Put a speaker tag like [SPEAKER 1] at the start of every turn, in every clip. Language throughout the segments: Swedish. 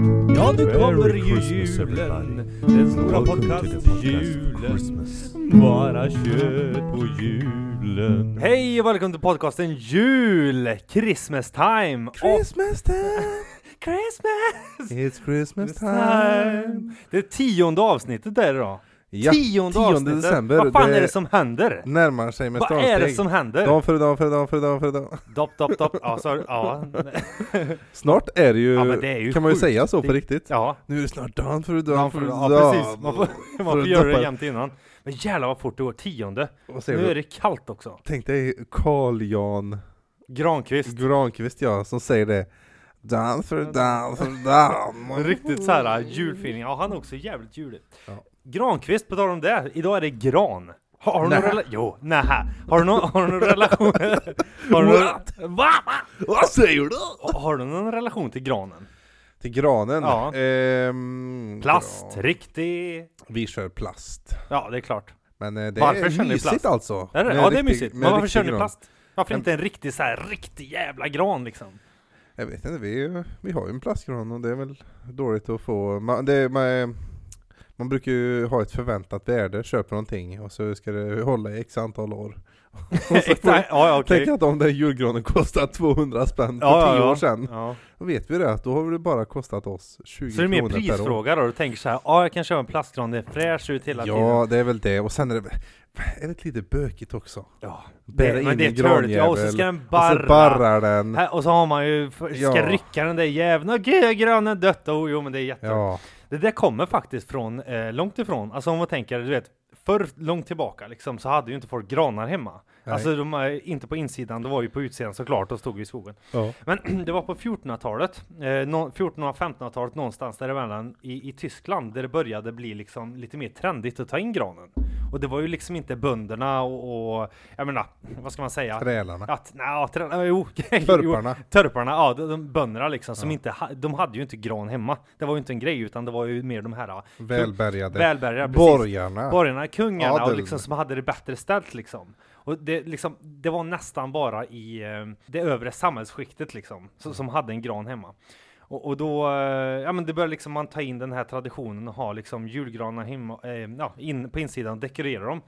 [SPEAKER 1] Ja, nu
[SPEAKER 2] Merry
[SPEAKER 1] kommer ju
[SPEAKER 2] Christmas, everybody.
[SPEAKER 1] julen. Den stora
[SPEAKER 2] Welcome to the podcast
[SPEAKER 1] podcast-julen.
[SPEAKER 2] Christmas.
[SPEAKER 1] Bara kött på julen. Hej och välkommen till podcasten Jul! Christmas time! Och
[SPEAKER 2] Christmas time!
[SPEAKER 1] Christmas
[SPEAKER 2] It's Christmas time!
[SPEAKER 1] time! Det är tionde avsnittet där idag.
[SPEAKER 2] Ja,
[SPEAKER 1] tionde, avsnittet!
[SPEAKER 2] december.
[SPEAKER 1] Vad fan
[SPEAKER 2] det
[SPEAKER 1] är det som händer?
[SPEAKER 2] närmar sig med
[SPEAKER 1] Vad är det
[SPEAKER 2] stormsteg.
[SPEAKER 1] som händer?
[SPEAKER 2] Dag för dag för dag för dag för dag.
[SPEAKER 1] Dopp, dopp, dopp. Ja, sorry. Ja,
[SPEAKER 2] Snart är det ju,
[SPEAKER 1] Ja, men det är ju
[SPEAKER 2] kan man ju
[SPEAKER 1] sjukt.
[SPEAKER 2] säga så på
[SPEAKER 1] Det-
[SPEAKER 2] riktigt.
[SPEAKER 1] ja.
[SPEAKER 2] Nu är det snart dag för dag
[SPEAKER 1] Man
[SPEAKER 2] för
[SPEAKER 1] får,
[SPEAKER 2] dag.
[SPEAKER 1] ja, precis. Man får, man
[SPEAKER 2] För
[SPEAKER 1] får
[SPEAKER 2] att
[SPEAKER 1] göra det
[SPEAKER 2] doppa-
[SPEAKER 1] jämt innan. Men jävlar vad fort det går. Tionde.
[SPEAKER 2] Och ser
[SPEAKER 1] Nu är
[SPEAKER 2] du,
[SPEAKER 1] det kallt också.
[SPEAKER 2] tänk dig Carl Jan
[SPEAKER 1] Granqvist.
[SPEAKER 2] Granqvist ja, som säger det. Dan för dan för dan.
[SPEAKER 1] En Riktigt så här äh, julfeeling. Ja, han är också jävligt julig.
[SPEAKER 2] Ja.
[SPEAKER 1] Granqvist, på tal om det. Idag är det gran. Har, har du någon
[SPEAKER 2] Nä.
[SPEAKER 1] relation? Jo, nähä. Har du någon, har du någon relation? har, du någon, va?
[SPEAKER 2] Vad säger du?
[SPEAKER 1] har du någon relation till granen?
[SPEAKER 2] Till granen.
[SPEAKER 1] Ja.
[SPEAKER 2] Ehm,
[SPEAKER 1] Plast,
[SPEAKER 2] gran.
[SPEAKER 1] riktig...
[SPEAKER 2] Vi kör plast.
[SPEAKER 1] Ja, det är klart.
[SPEAKER 2] Men eh, det
[SPEAKER 1] Varför
[SPEAKER 2] är
[SPEAKER 1] kör ni
[SPEAKER 2] mysigt
[SPEAKER 1] plast?
[SPEAKER 2] alltså.
[SPEAKER 1] Är det?
[SPEAKER 2] Med
[SPEAKER 1] Ja, det är
[SPEAKER 2] riktig-
[SPEAKER 1] mysigt.
[SPEAKER 2] med
[SPEAKER 1] Men varför
[SPEAKER 2] riktig
[SPEAKER 1] kör ni
[SPEAKER 2] gran.
[SPEAKER 1] plast? Varför
[SPEAKER 2] Men-
[SPEAKER 1] inte en riktig så här riktig jävla gran liksom?
[SPEAKER 2] Jag vet inte, vi, vi har ju en plastgran och det är väl dåligt att få. Man, det, man, man brukar ju ha ett förväntat värde, köper någonting och så ska det hålla i x antal år. Och så
[SPEAKER 1] Exakt.
[SPEAKER 2] får-
[SPEAKER 1] ja, ja, okej.
[SPEAKER 2] Tänk att om den julgranen kostar 200 spänn för 10
[SPEAKER 1] Ja, ja, ja.
[SPEAKER 2] år sedan.
[SPEAKER 1] Ja.
[SPEAKER 2] Då vet vi det, att då har det bara kostat oss 20
[SPEAKER 1] Så det är mer
[SPEAKER 2] kronor per år.
[SPEAKER 1] prisfråga då? Du tänker så här, ja, jag kan köpa en plastgran, det är fräsch ut hela tiden.
[SPEAKER 2] Ja, det är väl det. Och sen är det, är det lite bökigt också.
[SPEAKER 1] Ja,
[SPEAKER 2] Bära
[SPEAKER 1] det,
[SPEAKER 2] in
[SPEAKER 1] men det är
[SPEAKER 2] en
[SPEAKER 1] törligt. Ja, och så
[SPEAKER 2] granjävel.
[SPEAKER 1] ska den
[SPEAKER 2] Och
[SPEAKER 1] barra.
[SPEAKER 2] så barrar den.
[SPEAKER 1] Här, och så har man ju, för- ska
[SPEAKER 2] Ja.
[SPEAKER 1] rycka den där jäveln. Åh gud, granen dött. Oh, jo, men det är jätte...
[SPEAKER 2] Ja,
[SPEAKER 1] Det där kommer faktiskt från eh, långt ifrån. Alltså om man tänker, du vet, förr långt tillbaka liksom, så hade ju inte folk granar hemma.
[SPEAKER 2] Nej.
[SPEAKER 1] Alltså de är inte på insidan, det var ju på utsidan såklart och stod i skogen.
[SPEAKER 2] ja.
[SPEAKER 1] Men det var på 1400-talet, eh, no, 1400 och 1500-talet någonstans däremellan i, i Tyskland, där det började bli liksom lite mer trendigt att ta in granen. Och det var ju liksom inte bönderna och, och jag menar, vad ska man säga?
[SPEAKER 2] trälarna.
[SPEAKER 1] Att, nej, ja, trä, nej, jo, jo,
[SPEAKER 2] Törparna.
[SPEAKER 1] törparna, ja, de, de bönderna liksom, som
[SPEAKER 2] Ja.
[SPEAKER 1] inte, ha, de hade ju inte gran hemma. Det var ju inte en grej, utan det var ju mer de här
[SPEAKER 2] Välbärgade.
[SPEAKER 1] välbärgade, precis.
[SPEAKER 2] Borgarna.
[SPEAKER 1] Borgarna, kungarna och
[SPEAKER 2] Adeln.
[SPEAKER 1] liksom som hade det bättre ställt liksom. Och det, liksom, det var nästan bara i eh, det övre samhällsskiktet liksom, som, som hade en gran hemma. Och, och då, eh, ja men det började liksom man ta in den här traditionen och ha liksom julgranar hemma, eh, ja, in, på insidan och dekorera dem.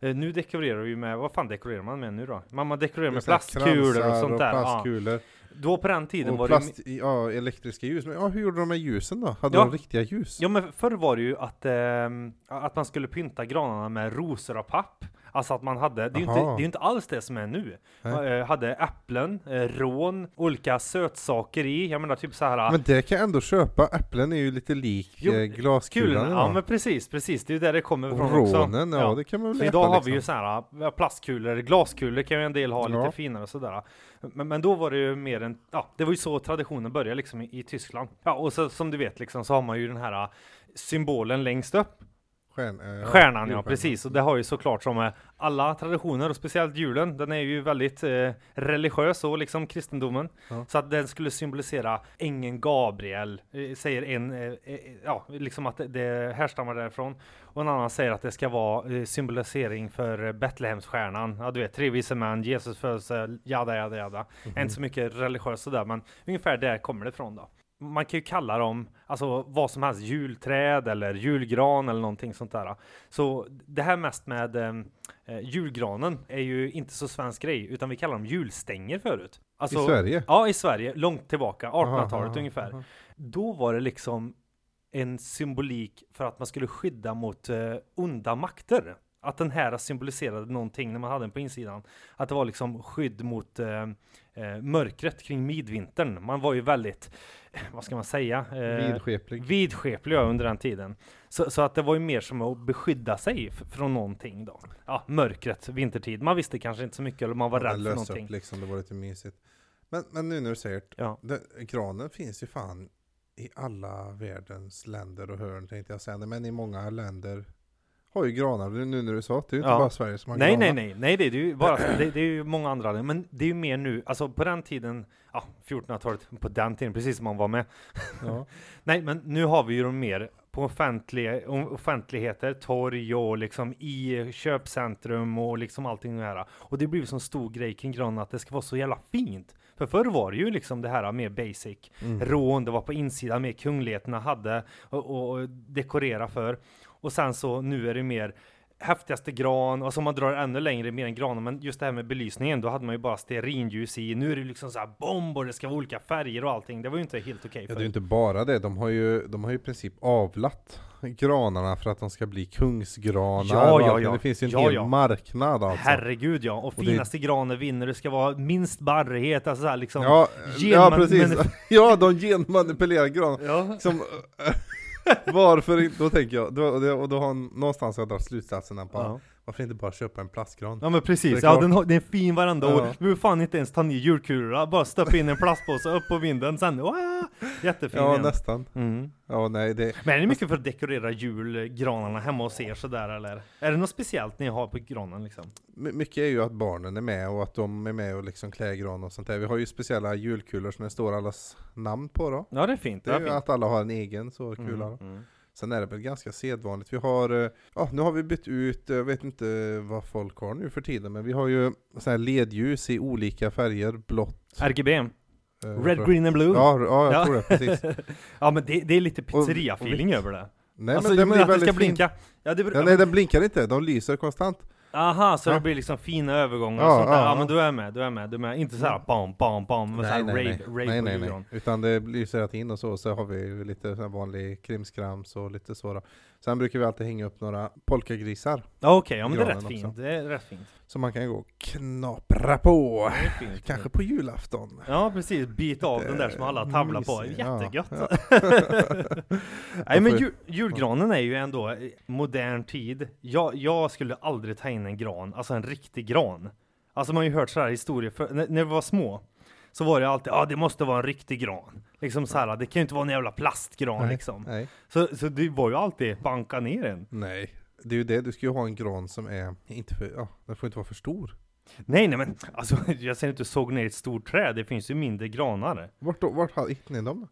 [SPEAKER 1] Eh, nu dekorerar vi med, vad fan dekorerar man med nu då? Man, man dekorerar med plastkulor och sånt där. ja.
[SPEAKER 2] Plastkulor.
[SPEAKER 1] Då på den tiden
[SPEAKER 2] Och
[SPEAKER 1] var det ju
[SPEAKER 2] plast, ja, elektriska ljus. Men ja, hur gjorde de med ljusen då? Hade
[SPEAKER 1] Ja.
[SPEAKER 2] de riktiga ljus?
[SPEAKER 1] Ja men förr var det ju att, ehm, att man skulle pynta granarna med rosor av papp. Alltså att man hade, det är ju inte,
[SPEAKER 2] Aha.
[SPEAKER 1] det är ju inte alls det som är nu.
[SPEAKER 2] Nej.
[SPEAKER 1] Man eh, hade äpplen, eh, rån, olika sötsaker i, jag menar typ så här.
[SPEAKER 2] Men det kan jag ändå köpa. Äpplen är ju lite lik
[SPEAKER 1] Jo,
[SPEAKER 2] eh, glaskulan.
[SPEAKER 1] kulorna, ja men
[SPEAKER 2] idag.
[SPEAKER 1] precis, precis, det är ju där det kommer
[SPEAKER 2] Och
[SPEAKER 1] ifrån också.
[SPEAKER 2] rånen, ja, det kan man väl
[SPEAKER 1] Så
[SPEAKER 2] äta,
[SPEAKER 1] idag har vi
[SPEAKER 2] liksom.
[SPEAKER 1] ju så här ja, plastkulor, glaskulor kan ju en del ha
[SPEAKER 2] Ja.
[SPEAKER 1] lite finare och sådär. Men, men då var det ju mer en, ja, det var ju så traditionen började liksom i, i Tyskland. Ja, och så, som du vet liksom så har man ju den här ja, symbolen längst upp.
[SPEAKER 2] Stjärn, eh, ja,
[SPEAKER 1] Stjärnan ja,
[SPEAKER 2] julstjärnan.
[SPEAKER 1] precis. Och det har ju såklart som med alla traditioner och speciellt julen. Den är ju väldigt eh, religiös och liksom kristendomen.
[SPEAKER 2] Ja.
[SPEAKER 1] Så att den skulle symbolisera ängeln Gabriel, eh, säger en, eh, eh, ja, liksom att det, det härstammar därifrån. Och en annan säger att det ska vara eh, symbolisering för eh, Betlehemsstjärnan. Ja, du vet, tre vise män, Jesus födelse, jada, jada, jada.
[SPEAKER 2] Mm.
[SPEAKER 1] Inte så mycket religiöst sådär, men ungefär där kommer det ifrån då. Man kan ju kalla dem, alltså vad som helst, julträd eller julgran eller någonting sånt där. Så det här mest med ehm, eh, julgranen är ju inte så svensk grej, utan vi kallar dem julstänger förut. Alltså,
[SPEAKER 2] I Sverige?
[SPEAKER 1] Ja, i Sverige, långt tillbaka, 1800-talet
[SPEAKER 2] Aha, aha,
[SPEAKER 1] ungefär.
[SPEAKER 2] aha.
[SPEAKER 1] Då var det liksom en symbolik för att man skulle skydda mot eh, onda makter. Att den här symboliserade någonting när man hade den på insidan. Att det var liksom skydd mot eh, eh, mörkret kring midvintern. Man var ju väldigt, vad ska man säga? Eh,
[SPEAKER 2] Vidskeplig.
[SPEAKER 1] vidskeplig under den tiden. Så, så att det var ju mer som att beskydda sig f- från någonting då. Ja, mörkret, vintertid. Man visste kanske inte så mycket eller man var
[SPEAKER 2] Ja,
[SPEAKER 1] rädd för
[SPEAKER 2] lös
[SPEAKER 1] någonting.
[SPEAKER 2] Upp, liksom, det var lite mysigt. Men, men nu när du säger det,
[SPEAKER 1] Ja.
[SPEAKER 2] det, granen finns ju fan i alla världens länder och hörn tänkte jag säga. Men i många länder har ju granar nu när du sa att det är ju inte
[SPEAKER 1] Ja.
[SPEAKER 2] bara Sverige som har
[SPEAKER 1] Nej,
[SPEAKER 2] granar.
[SPEAKER 1] nej, nej, nej, det är det ju bara, det, det är ju många andra länder, men det är ju mer nu, alltså på den tiden, ja, 1400-talet, på den tiden, precis som man var med.
[SPEAKER 2] Ja.
[SPEAKER 1] Nej, men nu har vi ju dem mer på offentlig, offentligheter, torg och liksom i köpcentrum och liksom allting det här. Och det blir ju sån stor grej kring granen att det ska vara så jävla fint. För förr var det ju liksom det här mer basic,
[SPEAKER 2] Mm.
[SPEAKER 1] rån, det var på insidan mer kungligheterna hade och, och, och dekorera för. Och sen så nu är det mer häftigaste gran och som man drar ännu längre mer än granen. Men just det här med belysningen, då hade man ju bara stearinljus i. Nu är det liksom så här bomb och det ska vara olika färger och allting. Det var ju inte helt okej
[SPEAKER 2] Ja, det är ju
[SPEAKER 1] förut.
[SPEAKER 2] inte bara det. De har ju, de har ju i princip avlat granarna för att de ska bli kungsgranar.
[SPEAKER 1] Ja,
[SPEAKER 2] och
[SPEAKER 1] ja,
[SPEAKER 2] allt.
[SPEAKER 1] ja.
[SPEAKER 2] Det finns ju en
[SPEAKER 1] Ja,
[SPEAKER 2] hel
[SPEAKER 1] ja.
[SPEAKER 2] marknad alltså.
[SPEAKER 1] Herregud ja, och
[SPEAKER 2] det-
[SPEAKER 1] finaste granen vinner, det ska vara minst barrighet, alltså så här liksom.
[SPEAKER 2] ja,
[SPEAKER 1] Genman-
[SPEAKER 2] ja, precis.
[SPEAKER 1] men-
[SPEAKER 2] ja, de genmanipulerar granar.
[SPEAKER 1] Ja.
[SPEAKER 2] Liksom, varför inte? Då tänker jag, då, och det- och då har någonstans har jag dragit slutsatsen att bara,
[SPEAKER 1] Ja.
[SPEAKER 2] varför inte bara köpa en plastgran?
[SPEAKER 1] Ja men
[SPEAKER 2] Det
[SPEAKER 1] precis,
[SPEAKER 2] är
[SPEAKER 1] ja,
[SPEAKER 2] klart.
[SPEAKER 1] den, har- den är fin varenda
[SPEAKER 2] Ja.
[SPEAKER 1] år. Du behöver fan inte ens ta ner julkulorna, bara stoppa in en plastpåse upp på vinden sen. Wow! Jättefin
[SPEAKER 2] Ja,
[SPEAKER 1] igen.
[SPEAKER 2] nästan.
[SPEAKER 1] Mm.
[SPEAKER 2] Ja, nej, det,
[SPEAKER 1] Men är det mycket för att dekorera julgranarna hemma hos er sådär eller? Är det något speciellt ni har på granen liksom?
[SPEAKER 2] My- Mycket är ju att barnen är med och att de är med och liksom klär gran och sånt där. Vi har ju speciella julkulor som det står allas namn på då.
[SPEAKER 1] Ja det är fint. Mm.
[SPEAKER 2] Det är ju att alla har en egen så kula. då. Sen är det väl ganska sedvanligt. Vi har, eh, ja nu har vi bytt ut, eh, jag vet inte vad folk har nu för tiden, men vi har ju sådana här ledljus i olika färger, blått.
[SPEAKER 1] RGB,
[SPEAKER 2] eh,
[SPEAKER 1] Äh, Red,
[SPEAKER 2] rött.
[SPEAKER 1] Green and Blue. Ja,
[SPEAKER 2] Ja, r- ja,
[SPEAKER 1] Ja. Alltså,
[SPEAKER 2] jag tror det, precis.
[SPEAKER 1] men det, det är lite pizzeria-feeling över det.
[SPEAKER 2] Nej
[SPEAKER 1] alltså
[SPEAKER 2] men den
[SPEAKER 1] men
[SPEAKER 2] blir
[SPEAKER 1] att det ska
[SPEAKER 2] väldigt fin.
[SPEAKER 1] blinka. Ja, det, beror-
[SPEAKER 2] Ja, nej den blinkar inte, de lyser konstant.
[SPEAKER 1] Aha, så
[SPEAKER 2] Ja.
[SPEAKER 1] det blir liksom fina övergångar och
[SPEAKER 2] Ja,
[SPEAKER 1] sånt där. Ja,
[SPEAKER 2] ja, ja.
[SPEAKER 1] men du är med, du är med, du är med. Inte såhär bam, bam, bam, men såhär rave,
[SPEAKER 2] nej.
[SPEAKER 1] rave
[SPEAKER 2] nej,
[SPEAKER 1] på
[SPEAKER 2] nej, nej.
[SPEAKER 1] julgran.
[SPEAKER 2] Utan det lyser rätt in och så, så har vi ju lite sån här vanlig krimskrams och lite så då. Sen brukar vi alltid hänga upp några polkagrisar
[SPEAKER 1] Ja okej, ja men det är
[SPEAKER 2] Granen
[SPEAKER 1] rätt
[SPEAKER 2] också.
[SPEAKER 1] fint. Det är rätt fint.
[SPEAKER 2] som man kan gå och knapra på.
[SPEAKER 1] Det är fint.
[SPEAKER 2] Kanske på julafton.
[SPEAKER 1] Ja precis, bit av den där som alla tavlar på.
[SPEAKER 2] Mysig, ja.
[SPEAKER 1] Jättegött!
[SPEAKER 2] Ja.
[SPEAKER 1] Nej men
[SPEAKER 2] får-
[SPEAKER 1] ju, julgranen är ju ändå eh, modern tid. Jag, jag skulle aldrig ta in en gran, alltså en riktig gran. Alltså man har ju hört sådana här historier, för, när, när vi var små så var det alltid, ja ah, det måste vara en riktig gran. Liksom så här, det kan ju inte vara en jävla plastgran
[SPEAKER 2] Nej,
[SPEAKER 1] liksom.
[SPEAKER 2] Nej.
[SPEAKER 1] Så, så det var ju alltid, banka ner en.
[SPEAKER 2] nej, det är ju det. Du ska ju ha en gran som är, inte för, ja, den får inte vara för stor.
[SPEAKER 1] Nej nej men, alltså jag säger inte såg ner ett stort träd, det finns ju mindre granar.
[SPEAKER 2] Vart, då, vart har- hittade ni dem?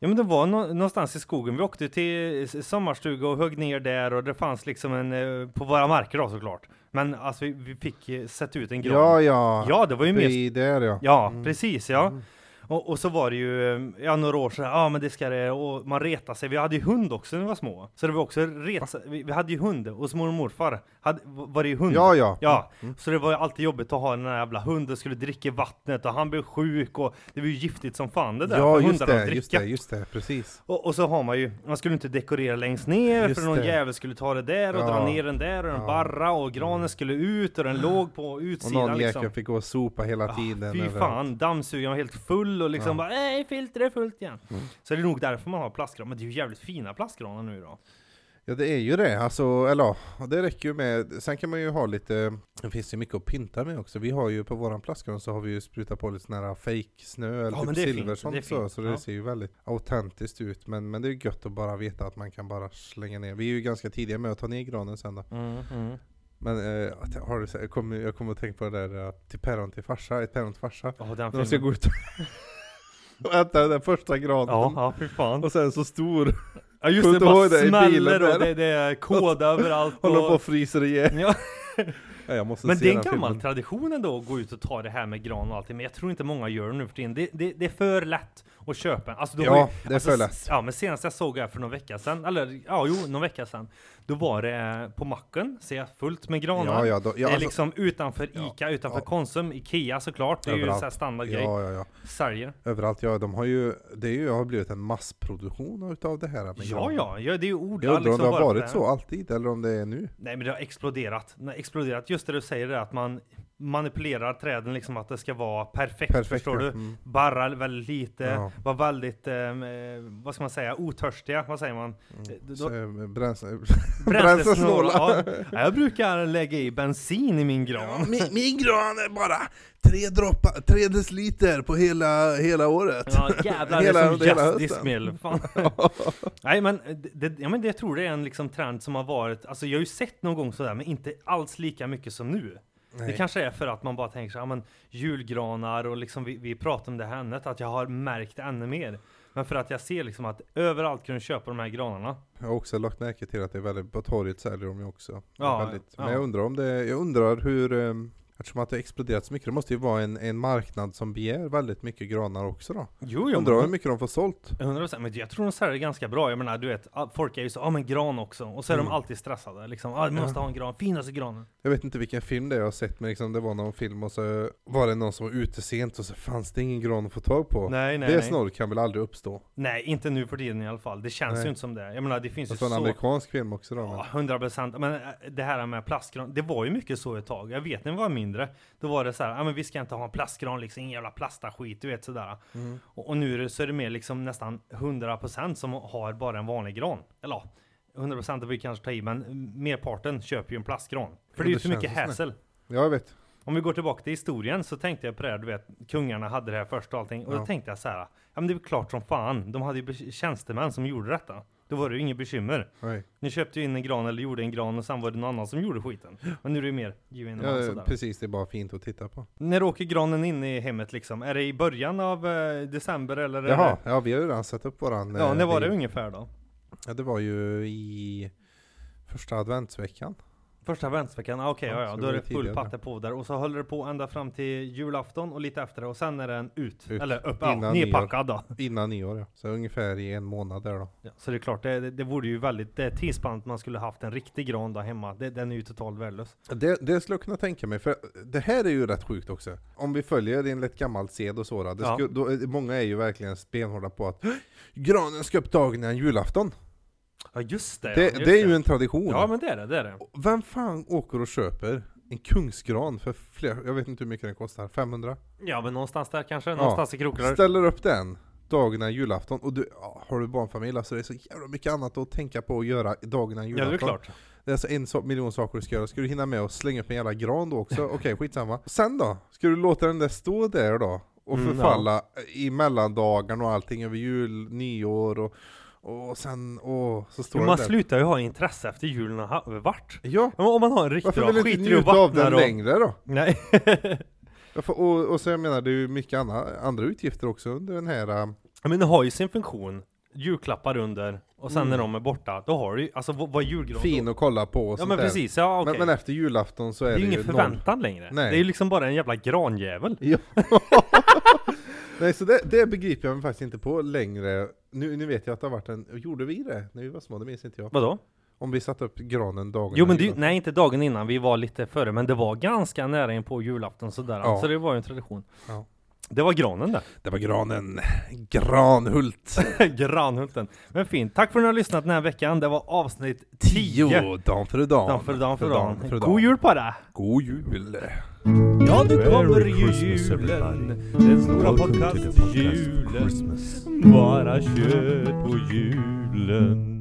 [SPEAKER 1] Ja men det var nå- någonstans i skogen, vi åkte till s- sommarstuga och högg ner där och det fanns liksom en, eh, på våra marker då såklart. Men alltså vi, vi fick eh, sätta ut en gran.
[SPEAKER 2] Ja, ja.
[SPEAKER 1] Ja, det var ju mer...
[SPEAKER 2] I där ja.
[SPEAKER 1] Ja,
[SPEAKER 2] Mm.
[SPEAKER 1] precis ja.
[SPEAKER 2] Mm.
[SPEAKER 1] Och, och så var det ju, eh, ja några år sedan, ja men det ska det, och man retar sig. Vi hade ju hund också när vi var små. Så det var också ret, vi, vi hade ju hund, och mormor och morfar hade, var det ju hund.
[SPEAKER 2] Ja, Mm. ja.
[SPEAKER 1] Ja, så det var ju alltid jobbigt att ha den här jävla hunden, skulle dricka vattnet och han blev sjuk och det var ju giftigt som fan det där.
[SPEAKER 2] Ja,
[SPEAKER 1] för
[SPEAKER 2] just
[SPEAKER 1] hundarna att
[SPEAKER 2] det, just
[SPEAKER 1] dricka.
[SPEAKER 2] det, just det, precis.
[SPEAKER 1] Och, och så har man ju, man skulle inte dekorera längst ner
[SPEAKER 2] Just
[SPEAKER 1] för någon
[SPEAKER 2] det.
[SPEAKER 1] jävel skulle ta det där och
[SPEAKER 2] Ja.
[SPEAKER 1] dra ner den där och den
[SPEAKER 2] Ja.
[SPEAKER 1] barra och granen skulle ut och den låg på
[SPEAKER 2] Och
[SPEAKER 1] utsidan
[SPEAKER 2] någon
[SPEAKER 1] liksom.
[SPEAKER 2] jäkel fick gå och sopa hela tiden.
[SPEAKER 1] Ah, fy
[SPEAKER 2] överallt.
[SPEAKER 1] fan, dammsugaren var helt full och liksom
[SPEAKER 2] Ja. Mm.
[SPEAKER 1] bara nej filtret är fullt igen. Så det är nog därför man har plastgran, men det är ju jävligt fina plastgranar nu då.
[SPEAKER 2] Ja det är ju det, alltså, eller ja, det räcker ju med, sen kan man ju ha lite, det finns ju mycket att pynta med också. Vi har ju på våran plastgran så har vi ju sprutat på lite sån här fake snö eller
[SPEAKER 1] Ja, men
[SPEAKER 2] typ
[SPEAKER 1] det är fint,
[SPEAKER 2] silver
[SPEAKER 1] det är
[SPEAKER 2] sånt så,
[SPEAKER 1] fint,
[SPEAKER 2] så det
[SPEAKER 1] ja.
[SPEAKER 2] ser ju väldigt autentiskt ut. Men, men det är ju gött att bara veta att man kan bara slänga ner. Vi är ju ganska tidiga med att ta ner granen sen då. Men eh, att- har du, sett- jag kommer jag kommer att tänka på det där eh, till päron till farsa, ett päron till farsa.
[SPEAKER 1] Ja, den
[SPEAKER 2] När de
[SPEAKER 1] filmen.
[SPEAKER 2] ska gå ut och äta den där första granen.
[SPEAKER 1] Ja, ja, fy fan.
[SPEAKER 2] Och sen så stor,
[SPEAKER 1] Ja just
[SPEAKER 2] Kommer
[SPEAKER 1] det,
[SPEAKER 2] inte
[SPEAKER 1] bara
[SPEAKER 2] ihåg det i bilen
[SPEAKER 1] smäller
[SPEAKER 2] där.
[SPEAKER 1] och det, det är kod överallt.
[SPEAKER 2] håller på
[SPEAKER 1] och-
[SPEAKER 2] och fryser ihjäl.
[SPEAKER 1] Ja,
[SPEAKER 2] Ja, jag måste
[SPEAKER 1] men
[SPEAKER 2] se
[SPEAKER 1] det är en
[SPEAKER 2] den filmen.
[SPEAKER 1] gammal tradition ändå att gå ut och ta det här med gran och allting, men jag tror inte många gör det nu för tiden. Det, det, det är för lätt att köpa. Alltså, då var
[SPEAKER 2] Ja, det är
[SPEAKER 1] alltså,
[SPEAKER 2] för lätt.
[SPEAKER 1] s- Ja, men senast jag såg det här för någon vecka sedan, eller ja, jo, någon vecka sedan, då var det eh, på macken, ser jag, fullt med granar.
[SPEAKER 2] Ja, ja, då, ja,
[SPEAKER 1] det är
[SPEAKER 2] alltså-
[SPEAKER 1] liksom utanför
[SPEAKER 2] Ja,
[SPEAKER 1] Ica, utanför
[SPEAKER 2] ja.
[SPEAKER 1] Konsum, Ikea såklart, det är ju
[SPEAKER 2] Överallt.
[SPEAKER 1] så här standardgrej.
[SPEAKER 2] ja, ja, ja.
[SPEAKER 1] Säljer.
[SPEAKER 2] Överallt, ja. De har ju, det är ju, har blivit en massproduktion utav det här. med
[SPEAKER 1] Ja,
[SPEAKER 2] gran.
[SPEAKER 1] ja, ja, det är ju ord.
[SPEAKER 2] Jag undrar
[SPEAKER 1] liksom,
[SPEAKER 2] om det har
[SPEAKER 1] bara för
[SPEAKER 2] varit
[SPEAKER 1] här.
[SPEAKER 2] så alltid, eller om det är nu.
[SPEAKER 1] Nej, men det har exploderat. Det har exploderat. Just det du säger, det att man manipulerar träden liksom att det ska vara perfekt,
[SPEAKER 2] Perfekt.
[SPEAKER 1] förstår
[SPEAKER 2] ja.
[SPEAKER 1] du?
[SPEAKER 2] Mm.
[SPEAKER 1] Barrar väldigt lite,
[SPEAKER 2] Ja.
[SPEAKER 1] var väldigt, ehm, eh, vad ska man säga, otörstiga, vad säger man?
[SPEAKER 2] Mm.
[SPEAKER 1] Då-
[SPEAKER 2] Så, eh, Bränsle...
[SPEAKER 1] Bränslesnåla.
[SPEAKER 2] Bränslesnåla.
[SPEAKER 1] ja. Ja, jag brukar lägga i bensin i min gran.
[SPEAKER 2] Ja, min, min gran är bara tre, droppar, tre deciliter på hela, hela året.
[SPEAKER 1] Ja jävlar, det
[SPEAKER 2] Hela-
[SPEAKER 1] är som
[SPEAKER 2] hela
[SPEAKER 1] just
[SPEAKER 2] hösten.
[SPEAKER 1] this meal. Fan. Nej men, det, ja, men det, jag tror det är en liksom trend som har varit, alltså jag har ju sett någon gång sådär men inte alls lika mycket som nu. Det
[SPEAKER 2] Nej.
[SPEAKER 1] kanske är för att man bara tänker så, ja men julgranar och liksom vi, vi pratade om det här ämnet, att jag har märkt det ännu mer. Men för att jag ser liksom att överallt kan du köpa de här granarna.
[SPEAKER 2] Jag har också lagt märke till att det är väldigt, på torget säljer de ju också. Det är
[SPEAKER 1] Ja,
[SPEAKER 2] väldigt,
[SPEAKER 1] ja.
[SPEAKER 2] Men jag undrar om det, jag undrar hur, ehm, eftersom att det har exploderat så mycket, det måste ju vara en, en marknad som begär väldigt mycket granar också då.
[SPEAKER 1] Jo,
[SPEAKER 2] Jag
[SPEAKER 1] jo,
[SPEAKER 2] undrar hur
[SPEAKER 1] men,
[SPEAKER 2] mycket de får sålt.
[SPEAKER 1] 100%, men jag tror de säljer ganska bra. Jag menar du vet, all- folk är ju så, ja ah, men gran också. Och så är de
[SPEAKER 2] Mm.
[SPEAKER 1] alltid stressade liksom, ah, vi måste ha en gran, finaste granen.
[SPEAKER 2] Jag vet inte vilken film det är jag har sett, men liksom det var någon film och så var det någon som var ute sent och så fanns det ingen gran att få tag på.
[SPEAKER 1] Nej, nej,
[SPEAKER 2] det
[SPEAKER 1] nej.
[SPEAKER 2] snarare kan väl aldrig uppstå.
[SPEAKER 1] Nej, inte nu för tiden i alla fall. Det känns
[SPEAKER 2] Nej.
[SPEAKER 1] ju inte som det. Jag menar det finns ju
[SPEAKER 2] Fast det var Alltså, en
[SPEAKER 1] så
[SPEAKER 2] amerikansk film också då. Men.
[SPEAKER 1] Ja, 100 procent. Men eh, det här med plastgran, det var ju mycket så ett tag. Jag vet när jag var mindre, då var det så här, ja men vi ska inte ha en plastgran liksom, ingen jävla plasta skit, du vet sådär.
[SPEAKER 2] Mm.
[SPEAKER 1] Och, och nu är det, så är det mer liksom nästan 100 procent som har bara en vanlig gran. Eller ja, 100 procent vi kanske tar i, men merparten köper ju en plastgran. För det
[SPEAKER 2] Ja,
[SPEAKER 1] är ju
[SPEAKER 2] det
[SPEAKER 1] för mycket
[SPEAKER 2] känns så.
[SPEAKER 1] hassel.
[SPEAKER 2] Ja, jag vet.
[SPEAKER 1] Om vi går tillbaka till historien så tänkte jag på det här, du vet, kungarna hade det här först och allting. Och då
[SPEAKER 2] Ja.
[SPEAKER 1] tänkte jag så här, ja men det är väl klart som fan, de hade ju be- tjänstemän som gjorde detta. Då var det ju inget bekymmer.
[SPEAKER 2] Nej.
[SPEAKER 1] Ni köpte ju in en gran eller gjorde en gran och sen var det någon annan som gjorde skiten. Men nu är det ju mer give in ja,
[SPEAKER 2] Ja,
[SPEAKER 1] sådär.
[SPEAKER 2] precis, det är bara fint att titta på.
[SPEAKER 1] När åker granen in i hemmet liksom? Är det i början av eh, december eller? är det-
[SPEAKER 2] Jaha, ja vi har ju redan satt upp våran...
[SPEAKER 1] Ja,
[SPEAKER 2] eh,
[SPEAKER 1] när var det
[SPEAKER 2] video.
[SPEAKER 1] ungefär då?
[SPEAKER 2] Ja, det var ju i första adventsveckan.
[SPEAKER 1] Första adventsveckan, ah, okej,
[SPEAKER 2] Ja,
[SPEAKER 1] ja,
[SPEAKER 2] så
[SPEAKER 1] ja,
[SPEAKER 2] det
[SPEAKER 1] då
[SPEAKER 2] var
[SPEAKER 1] är
[SPEAKER 2] ju
[SPEAKER 1] det full
[SPEAKER 2] tidigare.
[SPEAKER 1] patte på där och så håller det på ända fram till julafton och lite efter det och sen är den ut,
[SPEAKER 2] Ut.
[SPEAKER 1] eller upp, ja,
[SPEAKER 2] Innan
[SPEAKER 1] nerpackad då.
[SPEAKER 2] Innan nyår ja. Så ungefär i en månad där då.
[SPEAKER 1] Ja, så det är klart, det, det, det vore ju väldigt, det tidsspannet man skulle haft en riktig gran där hemma, det, den är ju totalt värdelös.
[SPEAKER 2] Det, det skulle jag kunna tänka mig, för det här är ju rätt sjukt också. Om vi följer enligt gammalt sed och så då, det
[SPEAKER 1] Ja.
[SPEAKER 2] sku, då, Många är ju verkligen benhårda på att granen ska upp dagen innan julafton.
[SPEAKER 1] Ja just det!
[SPEAKER 2] det,
[SPEAKER 1] ja, just
[SPEAKER 2] det är ju en tradition.
[SPEAKER 1] Ja men det är det, det är det.
[SPEAKER 2] Vem fan åker och köper en kungsgran för flera, jag vet inte hur mycket den kostar, 500?
[SPEAKER 1] Ja men någonstans där kanske, någonstans i krokar.
[SPEAKER 2] Ställer upp den dagen innan julafton och du, ja, har du barnfamilj alltså det är så jävla mycket annat att tänka på att göra dagen innan
[SPEAKER 1] Ja
[SPEAKER 2] julafton.
[SPEAKER 1] det är klart.
[SPEAKER 2] Det är alltså en so- miljon saker du ska göra. Ska du hinna med att slänga upp en jävla gran då också? Okej, skitsamma. Sen då? Ska du låta den där stå där då? Och
[SPEAKER 1] Mm,
[SPEAKER 2] förfalla i mellandagarna och allting över jul, nyår och, och sen, åh, så står
[SPEAKER 1] Jo,
[SPEAKER 2] den
[SPEAKER 1] man
[SPEAKER 2] där.
[SPEAKER 1] slutar ju ha intresse efter julen har varit.
[SPEAKER 2] ja,
[SPEAKER 1] Ja, men Om man har en riktigt
[SPEAKER 2] varför
[SPEAKER 1] bra,
[SPEAKER 2] vill du
[SPEAKER 1] skiter
[SPEAKER 2] inte
[SPEAKER 1] i att
[SPEAKER 2] njuta av
[SPEAKER 1] vattna
[SPEAKER 2] den
[SPEAKER 1] då.
[SPEAKER 2] längre då?
[SPEAKER 1] Nej.
[SPEAKER 2] Varför- Och, och så jag menar, det är ju mycket andra, andra utgifter också under den här... äh,
[SPEAKER 1] Ja, Men den har ju sin funktion. Julklappar under och sen när de är borta, då har du ju, alltså vad vad är julgran? då?
[SPEAKER 2] Fin att kolla på Mm. och
[SPEAKER 1] Ja
[SPEAKER 2] sånt
[SPEAKER 1] men
[SPEAKER 2] där.
[SPEAKER 1] precis, ja okej.
[SPEAKER 2] men, men efter julafton så är
[SPEAKER 1] det är
[SPEAKER 2] det,
[SPEAKER 1] ju
[SPEAKER 2] ju
[SPEAKER 1] ingen
[SPEAKER 2] noll.
[SPEAKER 1] förväntan längre.
[SPEAKER 2] Nej.
[SPEAKER 1] Det är ju liksom bara en jävla granjävel.
[SPEAKER 2] Ja. Nej, så det, det begriper jag mig faktiskt inte på längre. Nu, nu vet jag att det har varit en... Gjorde vi det när vi var små? Det minns inte jag.
[SPEAKER 1] Vadå?
[SPEAKER 2] Om vi satte upp granen dagen
[SPEAKER 1] Jo men
[SPEAKER 2] innan
[SPEAKER 1] det, nej inte dagen innan, vi var lite före, men det var ganska nära in på julafton sådär.
[SPEAKER 2] Ja.
[SPEAKER 1] Så det var ju en tradition.
[SPEAKER 2] Ja.
[SPEAKER 1] Det var granen där.
[SPEAKER 2] julafton. Det var granen. Granhult.
[SPEAKER 1] Granhulten. Men fint. Tack för att ni har lyssnat den här veckan. Det var avsnitt 10.
[SPEAKER 2] Tio. Dan för dan.
[SPEAKER 1] Dan för dan för
[SPEAKER 2] dan för
[SPEAKER 1] dan. God jul på dig!
[SPEAKER 2] God jul.
[SPEAKER 1] Ja, nu kommer
[SPEAKER 3] Merry
[SPEAKER 1] ju
[SPEAKER 3] Christmas, everybody.
[SPEAKER 1] julen. Den stora
[SPEAKER 3] Welcome to the podcast
[SPEAKER 1] podcast-julen.
[SPEAKER 3] Christmas.
[SPEAKER 1] Bara kött på julen.